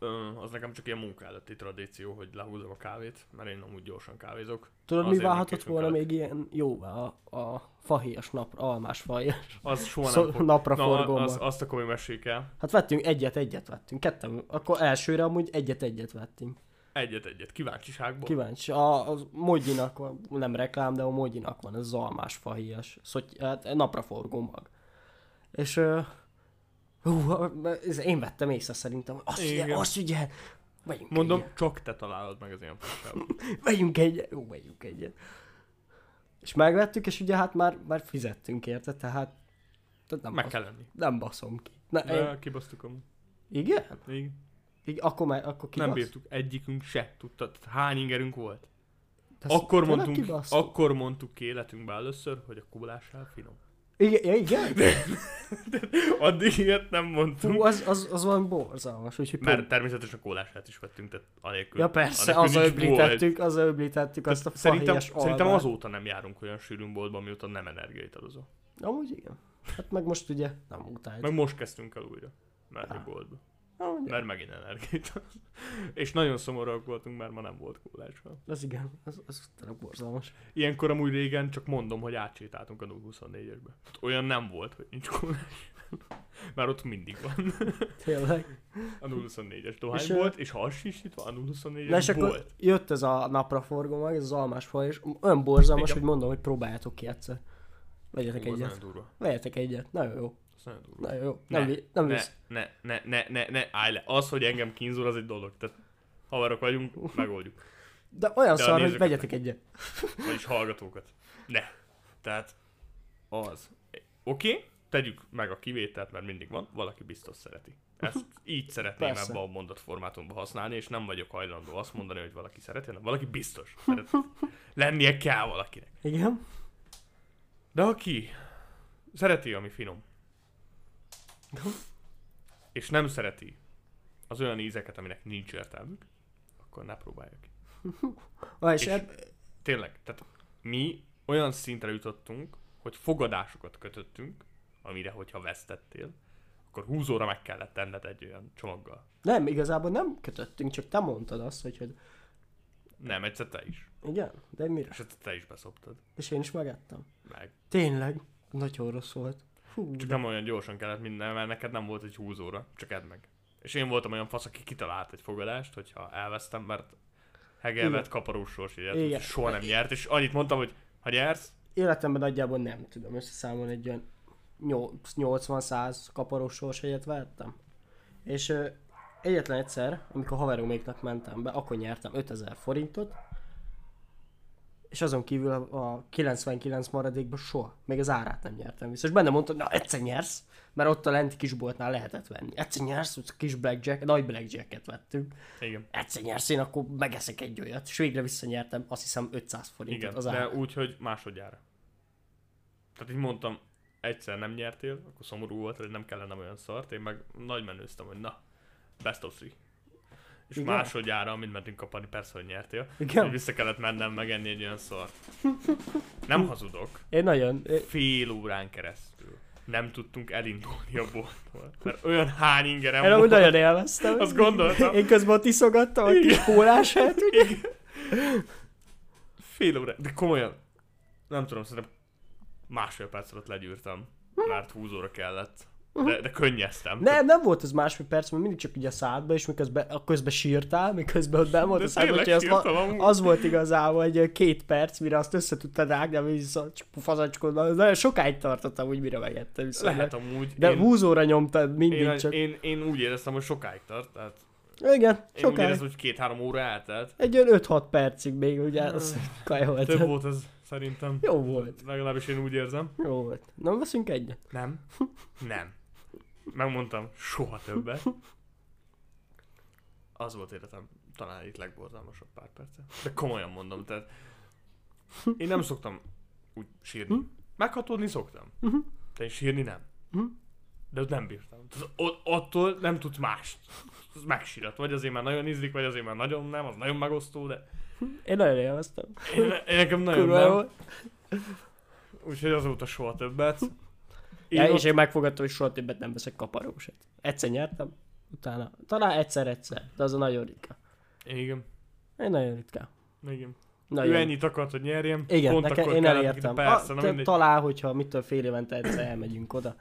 Ö, az nekem csak ilyen munka előtti tradíció, hogy lehúzom a kávét, mert én amúgy gyorsan kávézok.
Tudod, mi
Azért
válhatott
megkésünk
volna
el.
még ilyen jóvá a, a fahéjas napra, almás fahéjas
Az soha nem
szó,
fog...
napra
Na, az,
forgóban.
azt akkor még meséljük el.
Hát vettünk egyet, egyet vettünk. Ketten, akkor elsőre amúgy egyet, egyet vettünk.
Egyet-egyet, kíváncsiságból.
Kíváncsi. A, a Mogyinak van, nem reklám, de a Mogyinak van, ez az almás fahéjas. Szoty, hát napra forgó mag. És ö, hú, ez én vettem észre szerintem. Azt ugye,
Igen.
azt ugye, vegyünk
Mondom,
egyet.
csak te találod meg az ilyen fasságot.
Vegyünk egyet, jó, vegyünk egyet. És megvettük, és ugye hát már, már fizettünk érte, tehát, tehát nem,
Meg
basz,
kell lenni.
nem baszom ki. Na, én,
De kibasztuk amúgy.
igen?
Még
Így, akkor, már, akkor kibasz?
nem bírtuk, egyikünk se tudta, tehát hány ingerünk volt.
De azt
Akkor
tényleg
mondtunk,
kibasszuk?
akkor mondtuk ki életünkben először, hogy a kólásnál finom.
Igen, ja, igen?
Addig ilyet nem mondtunk.
Fú, az, az, az valami borzalmas, úgyhogy
Mert
pont-
természetesen kólását is vettünk, tehát anélkül.
Ja persze,
anélkül
az
nincs volt.
öblítettük, az öblítettük azt a
Szerintem,
fahéjas
szerintem
almát.
azóta nem járunk olyan sűrűn boltba, mióta nem energiait adozó.
Amúgy igen. Hát meg most ugye nem utáljuk.
Meg most kezdtünk el újra menni
Ah.
boltba,
Amúgy
mert megint energiait adozó. És nagyon szomorúak voltunk, mert ma nem volt kólásra.
az igen, az, az tényleg borzalmas.
Ilyenkor amúgy régen csak mondom, hogy átsétáltunk a 024-esbe. Tehát olyan nem volt, hogy nincs kólás. Már ott mindig van.
Tényleg.
A 024-es dohány
És,
és
ö,
volt, és ha az sisítva, a 024-es
Na és
volt.
akkor jött ez a napraforgó meg, ez az almás faj, és olyan borzalmas,
Igen.
hogy mondom, hogy próbáljátok ki egyszer. Vegyetek
Ú, az nagyon
egyet.
durva.
Vegyetek egyet. Nagyon jó.
Az nagyon durva.
Nagyon jó.
Ne,
Nem, vi- nem
ne,
visz.
ne, ne, ne, ne, ne, állj le. Az, hogy engem kínzol, az egy dolog. Tehát haverok vagyunk, megoldjuk.
De olyan
De a
szar, hogy
nézőket
vegyetek egyet.
Vagyis hallgatókat. Ne. Tehát az. Oké, okay, tegyük meg a kivételt, mert mindig van, valaki biztos szereti. Ezt így szeretném
Persze.
ebben a mondatformátumban használni, és nem vagyok hajlandó azt mondani, hogy valaki szereti, hanem valaki biztos szereti. Lennie kell valakinek.
Igen.
De aki szereti, ami finom, és nem szereti az olyan ízeket, aminek nincs értelmük, akkor ne próbálja ki.
Ah, és
És-
eb-
Tényleg, tehát mi olyan szintre jutottunk, hogy fogadásokat kötöttünk, amire, hogyha vesztettél, akkor húzóra meg kellett tenned egy olyan csomaggal.
nem, igazából nem kötöttünk, csak te mondtad azt, hogy, hogy
Nem, egyszer te is.
igen, de mire?
És egyszer te is beszoptad.
És én is megettem.
Meg.
Tényleg, nagyon rossz volt. Hú,
Csak
de-
nem olyan gyorsan kellett minden, mert neked nem volt egy húzóra, csak edd meg. És én voltam olyan fasz, aki kitalált egy fogadást, hogyha elvesztem, mert Hegel
Igen.
vett kaparós sors ilyet,
Igen.
úgyhogy soha nem nyert, és annyit mondtam, hogy ha nyersz,
életemben nagyjából nem tudom összeszámolni, egy olyan 80-100 kaparós sors egyet vettem. És ö, egyetlen egyszer, amikor haveroméknak mentem be, akkor nyertem 5000 forintot, és azon kívül a, a 99 maradékban soha, még az árát nem nyertem vissza. És benne mondta, na egyszer nyersz, mert ott a lenti kisboltnál lehetett venni. Egyszer nyersz, ott kis blackjack, nagy blackjacket vettünk.
Igen.
Egyszer nyersz, én akkor megeszek egy olyat. És végre visszanyertem, azt hiszem 500 forintot
Igen,
az
de
árát.
úgy, hogy másodjára. Tehát így mondtam, egyszer nem nyertél, akkor szomorú volt, hogy nem kellene olyan szart, én meg nagy menőztem, hogy na, best of three. És
Igen?
Igen? másodjára, amint mentünk kapani, persze, hogy nyertél,
Igen.
hogy vissza kellett mennem megenni egy olyan szart. Nem hazudok,
Én nagyon, én-
fél órán keresztül nem tudtunk elindulni a boltból, mert olyan hány ingerem
én amúgy
volt.
nagyon élveztem.
Azt gondoltam.
Én közben ott iszogattam a kis pólását, ugye?
Fél óra, de komolyan. Nem tudom, szerintem másfél perc alatt legyűrtem. Mert 20 óra kellett. De, de könnyeztem.
Nem, nem volt az másfél perc, mert mindig csak így a szádba, és miközben, a közben sírtál, miközben ott benn volt
De
a szádba,
tényleg
úgyhogy az,
sírtam amúgy.
az volt igazából egy ö, két perc, mire azt össze tudtad rágni, ami viszont csak fazacskodva, nagyon sokáig tartottam, úgy mire megettem viszont.
Lehet amúgy.
De
én,
húzóra nyomtad mindig
én,
csak.
én, én, úgy éreztem, hogy sokáig tart. Tehát
Igen,
én úgy
sokáig. Hát
éreztem, hogy két-három óra eltelt.
Egy olyan 5-6 percig még, ugye, az
Több
kajolt.
volt ez szerintem.
hát- Jó volt,
Legalábbis én úgy érzem.
jó volt. Na, veszünk egyet.
Nem. Nem. Megmondtam, soha többet. Az volt életem talán itt legborzalmasabb pár perce. De komolyan mondom, tehát én nem szoktam úgy
Mhm.
sírni. Meghatódni szoktam. De én sírni nem. De ott nem bírtam. Tehát ott, attól nem tudsz mást. Az megsirat. Vagy azért már nagyon ízlik, vagy azért már nagyon nem, az nagyon megosztó, de
Én nagyon élveztem.
én, én nekem nagyon
Kurva jó.
nem. Úgyhogy azóta soha többet. Én
Ja,
ott-
és én megfogadtam, hogy soha többet nem veszek kaparósat. Egyszer nyertem, utána. Talán egyszer-egyszer, de az a nagyon ritka.
Igen.
Én nagyon ritka.
Igen.
Nagyon.
Ő ennyit akart, hogy nyerjem.
Igen,
pont
nekem,
akkor
én
kellett
elértem.
neki- Persze,
A-
na
te-
mindegy.
Talán, hogyha mitől fél évente egyszer elmegyünk oda.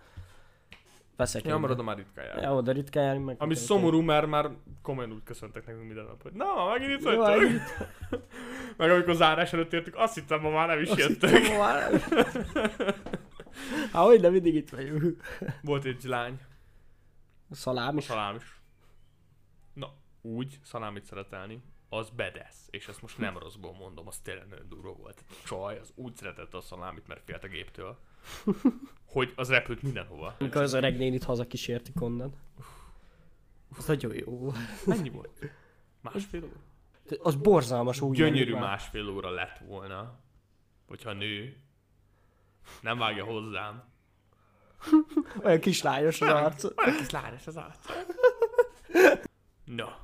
Veszek
Ja, marad a már ritkán jár.
Ja, oda ritkán járunk meg.
Ami szomorú, mert már komolyan úgy köszöntek nekünk minden nap, hogy na, ma megint itt
Jaj,
vagytok. Meg amikor zárás előtt értük, azt hittem, ma már nem is jöttök.
Há, hogy nem mindig itt vagyunk.
Volt egy lány,
Szalám is.
szalám is. Na, úgy szalámit szeretelni, az bedesz. És ezt most nem rosszból mondom, az tényleg nagyon durva volt. Csaj, az úgy szeretette a szalámit, mert félt a géptől, hogy az repült mindenhova.
Amikor az öreg nénit hazakísértik onnan. Az nagyon jó. volt.
Mennyi volt? Másfél óra?
Az borzalmas úgy.
gyönyörű
menni már.
másfél óra lett volna, hogyha nő nem vágja hozzám.
Olyan kislányos az arc.
Olyan kis lányos az arc. Na.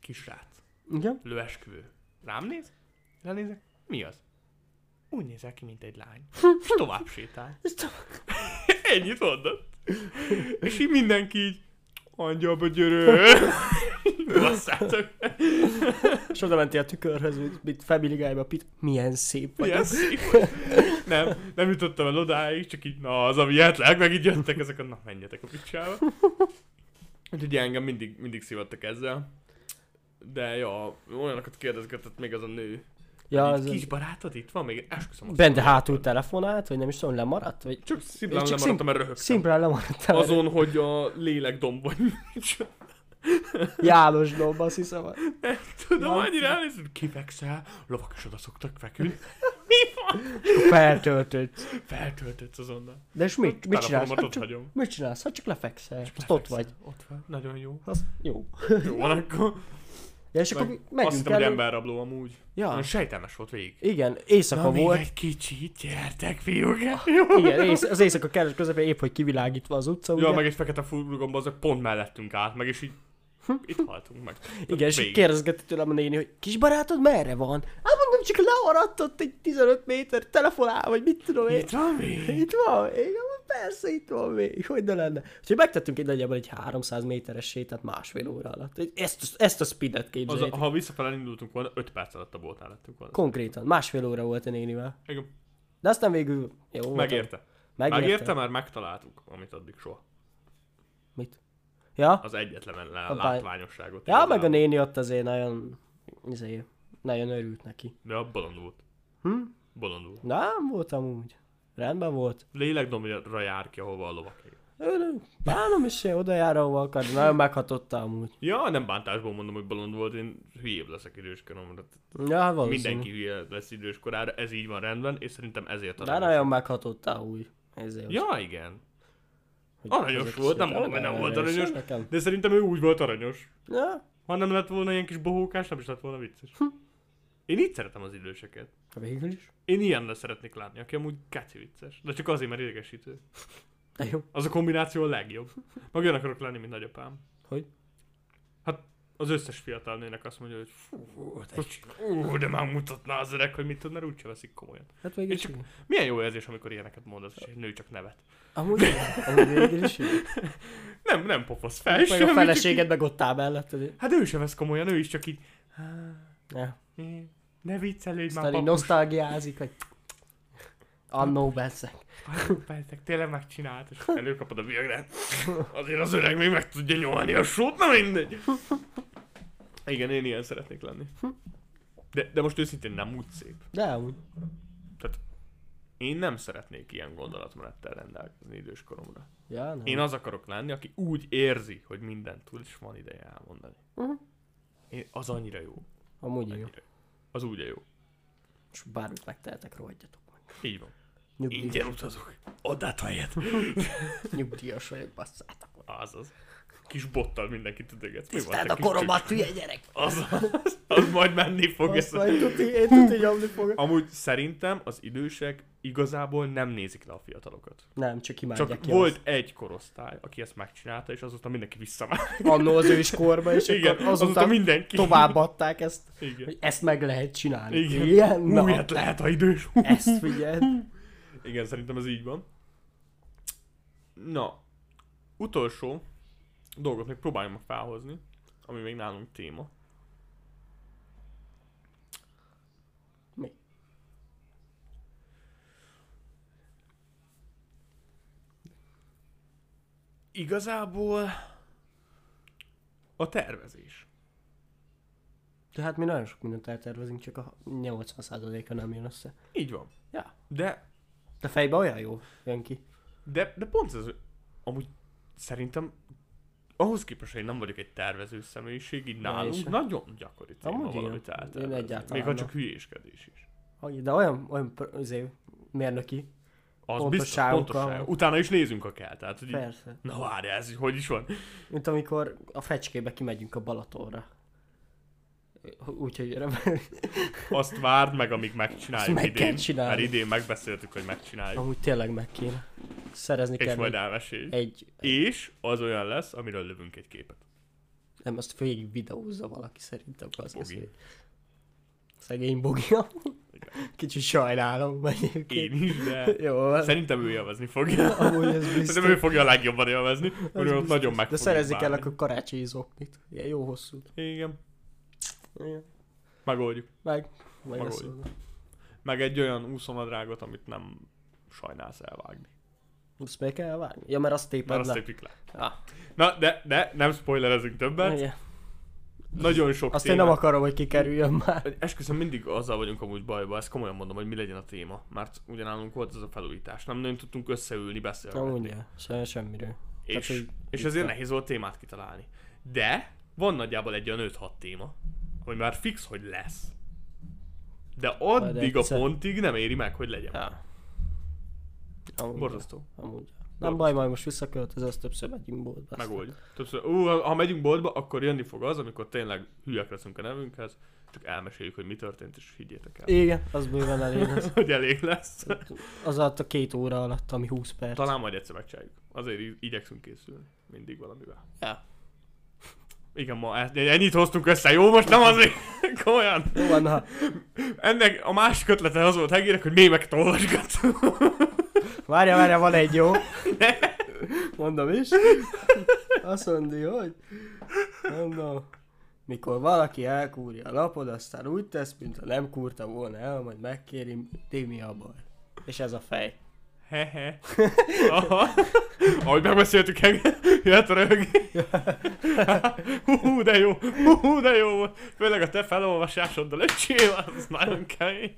Kisrác.
Igen?
Lőesküvő. Rám néz? Ránézek? Mi az? Úgy nézel ki, mint egy lány. És tovább sétál.
Ez t-
Ennyit mondott. És így mindenki így, angyalba györő. Basszátok.
És oda mentél a tükörhöz, mint, mint Family Guy-ba, Pit. Milyen szép vagy.
Milyen szép. Nem, nem jutottam el odáig, csak így, na az, ami jelenleg, meg így jöttek ezek, a, na menjetek a picsába. Úgyhogy engem mindig, mindig szívattak ezzel. De ja, olyanokat kérdezgetett még az a nő.
Ja,
Ja,
az
így, kis barátod itt van? Még esküszöm. azt
Bende
mondom.
hátul telefonált, vagy nem is tudom, lemaradt? Vagy...
Csak szimplán
És csak
lemaradtam, mert röhögtem.
Szimplán lemaradt el.
Azon, hogy a lélek dombon nincs.
János domb, azt hiszem.
Tudom,
Ja.
annyira elnézed, kifekszel, lovak is oda szoktak feküdni.
Feltöltött.
Feltöltött azonnal.
De és mit, mit csinálsz?
Telefonomat
Hát
ott
csak,
hagyom.
mit csinálsz? Hát csak lefekszel. Csak ott
Lefekszel.
vagy.
Ott van. Nagyon jó.
Az jó.
Jó van akkor.
Ja, és
Meg
akkor
Azt
megyünk
hittem, hogy
el.
emberrabló amúgy.
Ja,
Olyan sejtelmes volt végig.
igen, éjszaka volt. Ah,
egy kicsit, gyertek fiúk!
Igen, éjsz, az éjszaka kellős közepén épp, hogy kivilágítva az utca, ugye?
Ja, meg egy fekete furgonban azok pont mellettünk állt, meg és így itt haltunk meg.
Hm? Igen, és így
kér...
kérdezgette tőlem a néni, hogy kisbarátod merre van? Hát mondom, csak lemaradt ott egy 15 méter, telefonál, vagy mit tudom én.
Itt van még?
Itt van, igen, persze itt van még, hogy ne lenne. Úgyhogy megtettünk egy nagyjából egy 300 méteres sétát másfél óra alatt. Egy- Ezt, ezt a speedet
Az,
képzeljétek.
a- ha visszafele indultunk volna, 5 perc alatt a boltnál lettünk volna.
Konkrétan, másfél óra volt a nénivel.
Igen,
De aztán végül jó volt.
megérte.
Hm? Megérte.
Megérte, mert megtaláltuk, amit addig soha.
Mit? Ja?
Az egyetlen le-
báj-
látványosságot.
Ja, meg a
igazából.
néni ott azért nagyon, izé, nagyon örült neki.
De a bolond volt.
Hm?
Bolond volt.
Nem voltam úgy. Rendben volt.
Lélekdomra jár ki, ahova a lovak ég.
Ő nem- Bánom is én oda jár, ahova akar. Nagyon meghatotta amúgy.
Ja, nem bántásból mondom, hogy bolond volt, én hülyébb leszek időskoromra.
Ja, hát valószínű.
Mindenki hülye lesz időskorára, ez így van rendben, és szerintem ezért
De
aranyos.
nagyon meghatotta úgy. Ezért,
Ja, igen.
hogy
aranyos
ezek
volt, nem
szépen
mondom, hogy nem volt
aranyos.
aranyos.
Nekem.
De szerintem ő úgy volt aranyos.
Ja,
Ha nem lett volna ilyen kis bohókás, nem is lett volna vicces.
Hm.
Én így szeretem az időseket.
végül is.
Én ilyenre szeretnék látni, aki amúgy keci vicces. De csak azért, mert idegesítő.
De jó.
Az a kombináció a legjobb. Meg olyan akarok lenni, mint nagyapám.
Hogy?
Hát az összes fiatal nőnek azt mondja, hogy fú, most- ú, de már mutatná az öreg, hogy mit tud, mert úgyse veszik komolyan.
Hát végül
Én
is.
csak-
igen.
Milyen jó érzés, amikor ilyeneket mondasz, és egy nő csak nevet.
Amúgy, igen. amúgy végül is. igen.
Nem, nem pofasz fel
Meg
semmi,
a
csak
feleséged meg ott áll mellett.
így- Hát ő sem vesz komolyan, ő is csak így... "Há,
Ja.
é, Ne viccelődj már,
Aztán így
papus.
nosztalgiázik, hogy annó beszek.
Hát, Persze, tényleg megcsinált, és előkapod a viagrát. Azért az öreg még meg tudja nyomni a sót, na mindegy. Igen, én ilyen szeretnék lenni. De, de most őszintén nem úgy szép.
De amúgy.
Én nem szeretnék ilyen gondolatmenettel rendelkezni időskoromra.
Ja, nem.
Én az akarok lenni, aki úgy érzi, hogy mindent tud, és van ideje elmondani.
Mhm.
Én, az annyira jó.
Amúgy jó.
Annyira. jó. Az úgy jó.
És bármit megtehetek, rohadjatok meg.
Így van.
Nyugdíjas,
Ingyen utazok. Add át a helyet.
nyugdíjas vagyok, basszátok.
Azaz. Kis bottal mindenkit ütögetsz. Mi van, te
Tiszteld a
kis
koromat, hülye gyerek!
Az, az, az majd menni fog.
Azt
Ez.
majd tuti, én tuti nyomni fogok.
Amúgy szerintem az idősek igazából nem nézik le a fiatalokat.
Nem, csak imádják
Csak
ki
volt egy korosztály, aki ezt megcsinálta, és azóta mindenki visszavált.
azt. Annó az őskorba, és
Igen,
akkor
azóta,
azután
mindenki.
továbbadták ezt,
Igen.
hogy ezt meg lehet csinálni.
Igen.
Ilyen?
Hú,
Na,
hát lehet a idős. Hú.
ezt figyeld.
Igen, szerintem ez így van. Na, utolsó dolgot még próbáljam meg felhozni, ami még nálunk téma.
Mi?
Igazából a tervezés.
De hát mi nagyon sok mindent eltervezünk, csak a 80%-a nem jön össze.
Így van.
Ja.
De,
De fejbe olyan jó jön ki.
de, de pont ez, amúgy szerintem ahhoz képest, hogy én nem vagyok egy tervező személyiség, így
Na, én
nálunk
sem.
nagyon gyakori téma
Amúgy igen.
valamit
Én
eltervezni.
egyáltalán
Még ha
nem.
csak hülyéskedés is.
Hogy- De olyan, olyan pr- izé, mérnöki.
Az
Pontosságokkal.
biztos, pontosság. Utána is nézünk, ha kell. Tehát, hogy így,
Persze.
na várjál, ez hogy is van.
Mint amikor a fecskébe kimegyünk a Balatonra. Úgyhogy
Azt várd meg, amíg megcsináljuk
Azt meg kell
idén.
csinálni.
Mert idén megbeszéltük, hogy megcsináljuk.
amúgy tényleg meg kéne. Szerezni
És
kell
majd
egy-
elmeséljük.
egy,
És az olyan lesz, amiről lövünk egy képet.
nem, azt végig videózza valaki szerintem. Az
Bogi.
Bogi. Szegény Bogi. amúgy. Kicsit sajnálom
Én
egyébként.
is, de
Jó,
szerintem ő élvezni fogja.
amúgy ez
Szerintem ő
biztos.
fogja a legjobban élvezni,
Ez
mert ott
biztos.
nagyon meg
De
fogjuk
szerezni kell
bánni.
akkor karácsi zoknit. Ilyen jó hosszú.
Igen,
Igen.
megoldjuk.
Meg, meg
Maga
azt
vagy.
mondom.
Meg egy olyan úszonadrágot, amit nem sajnálsz elvágni.
Azt meg kell vágni. Ja, mert azt
Mert
téped
azt
le.
tépik le.
Ah,
Na, de, de nem spoilerezünk többet.
igen.
Nagyon sok
Azt én
témát
nem akarom, hogy kikerüljön már.
Hogy Esküszöm, mindig azzal vagyunk amúgy bajban, ezt komolyan mondom, hogy mi legyen a téma. Mert ugyanálunk volt ez a felújítás, nem nagyon tudtunk összeülni,
Nem
beszélgetni.
mondja, se, semmiről.
és,
Tehát, hogy
és ezért nehéz volt témát kitalálni. De van nagyjából egy olyan 5-6 téma, ami már fix, hogy lesz. De addig a
egyszer-
pontig nem éri meg, hogy legyen.
Ja. Amúgy,
Borzasztó.
amúgy. Nem baj, majd most visszaköltözöl, az többször megyünk boltba. aztán.
Megoldjuk. Többször, ú, ha ha megyünk boltba, akkor jönni fog az, amikor tényleg hülyek leszünk a nevünkhez, csak elmeséljük, hogy mi történt, és higgyétek el,
Igen, az bőven elég lesz.
hogy elég lesz.
Az alatt a két óra alatt, ami 20 perc.
Talán majd egyszer megcsináljuk. Azért így- igyekszünk készülni. Mindig valamivel.
Ja.
Igen, ma ezt- ennyit hoztunk össze, jó? Most nem azért, komolyan.
Jó van, ha
Ennek a másik ötlete az volt Hegének, hogy mémeket olvasgat.
várja, várja, van egy jó. Mondom is. Azt mondja, hogy... Mondom. Mikor valaki elkúrja a lapod, aztán úgy tesz, mintha nem kúrta volna el, majd megkéri, ti mi a baj. És ez a fej.
Hehe. Aha. Ahogy megbeszéltük, Hege- jöhet a röhög. Hú, hú, de jó, hú, hú, de jó volt. Főleg a te felolvasásoddal, öcsém, az nagyon kemény.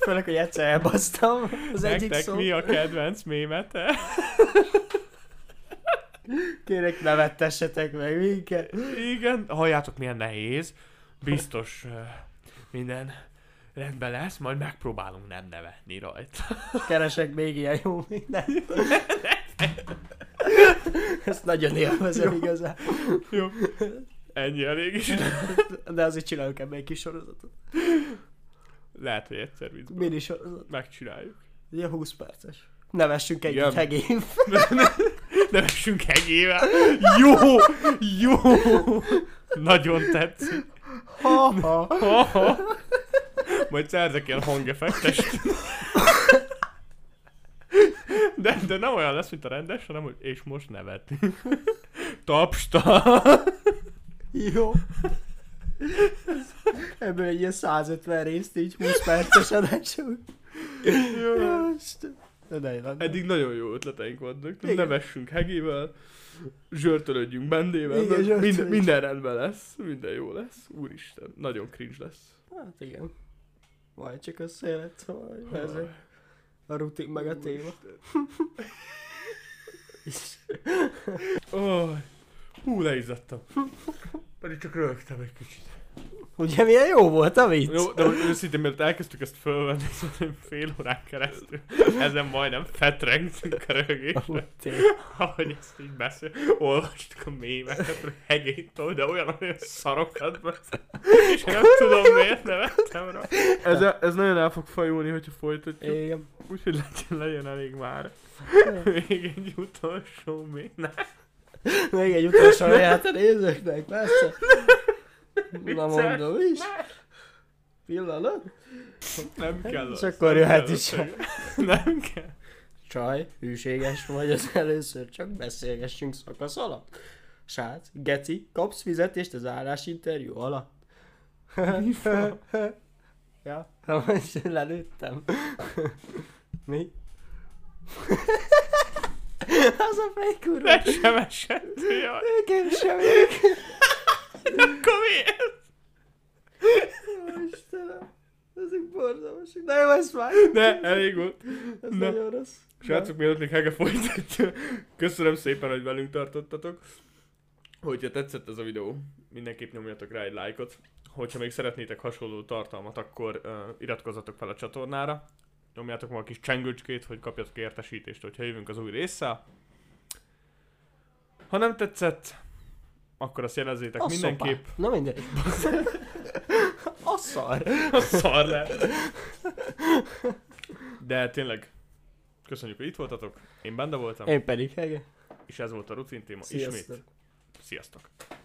Főleg, hogy egyszer elbasztam az egyik
Nektek
szó.
mi a kedvenc mémete?
Kérek, ne vettessetek meg minket.
Igen, halljátok milyen nehéz. Biztos ö, minden rendben lesz, majd megpróbálunk nem nevetni rajta.
Keresek még ilyen jó mindent. Ezt nagyon élvezem igazán.
Jó. Ennyi elég is.
De azért csinálunk ebből egy kis sorozatot.
Lehet, hogy egyszer viccből
Mini sorozat.
megcsináljuk.
Ugye 20 perces. Nevessünk együtt
Igen.
hegén.
Nevessünk hegyével. Jó! Jó! Nagyon tetszik.
Ha-ha.
Aha. Majd szerzek ilyen hangeffektest. De, de nem olyan lesz, mint a rendes, hanem hogy és most nevet. Tapsta.
Jó. Ebből egy ilyen 150 részt így 20 perces adásunk. Jó, Isten. De ne, ne, ne.
Eddig nagyon jó ötleteink vannak.
Igen.
Nevessünk Hegével, zsörtölődjünk Bendével,
Igen,
Igen, minden,
zsörtölődjünk.
minden rendben lesz, minden jó lesz. Úristen, nagyon cringe lesz.
Hát igen. Majd csak össze lett, hogy ezek. A rutin meg a téma.
Oh, hú, leizzadtam. Pedig csak rögtem egy kicsit.
Ugye milyen jó volt a vicc?
Jó, de hogy őszintén, mielőtt elkezdtük ezt fölvenni, szerintem fél órán keresztül ezen majdnem fetrengtünk a röhögésre. Ahogy ezt így beszél, olvastuk a mémeket, hogy hegétől, de olyan olyan szarokat beszél. És én nem tudom, miért nevettem rá. Ez, ez nagyon el fog fajulni, hogyha folytatjuk.
Igen.
Úgyhogy legyen, legyen elég már. Még egy utolsó mémet.
Még egy utolsó ajánlat a nézőknek, persze. Na mondom is. Pillanat.
Nem kell
És
az,
akkor
nem
jöhet
kell
is
az. Nem kell.
Csaj, hűséges vagy az először, csak beszélgessünk szakasz alatt. Srác, geci, kapsz fizetést az állásinterjú alatt.
Mi fa?
ja, na most lelőttem. Mi? az a fej kurva.
Ne sem esett, jaj.
Nekem sem
Akkor miért?
Istenem. Ezek borzalmasak. Na jó, ez már.
Ne, elég hát volt.
Ez
Ne.
nagyon rossz.
Srácok, mielőtt még Hege folytatja, köszönöm szépen, hogy velünk tartottatok. Hogyha tetszett ez a videó, mindenképp nyomjatok rá egy lájkot. Hogyha még szeretnétek hasonló tartalmat, akkor uh, iratkozzatok fel a csatornára. Nyomjátok ma a kis csengőcskét, hogy kapjatok értesítést, hogyha jövünk az új résszel. Ha nem tetszett, akkor azt jelezzétek
A
mindenképp.
szopá. Na mindegy. A szar.
A szar lett. De tényleg, köszönjük, hogy itt voltatok. Én benne voltam,
Én pedig, igen.
és ez volt a rutin téma. Ismét.
Sziasztok.
Sziasztok!